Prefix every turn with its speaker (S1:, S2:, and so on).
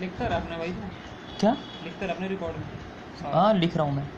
S1: लिखता रहा अपने भाई
S2: क्या
S1: लिखता रहा अपने रिकॉर्ड में
S2: हाँ लिख रहा हूँ मैं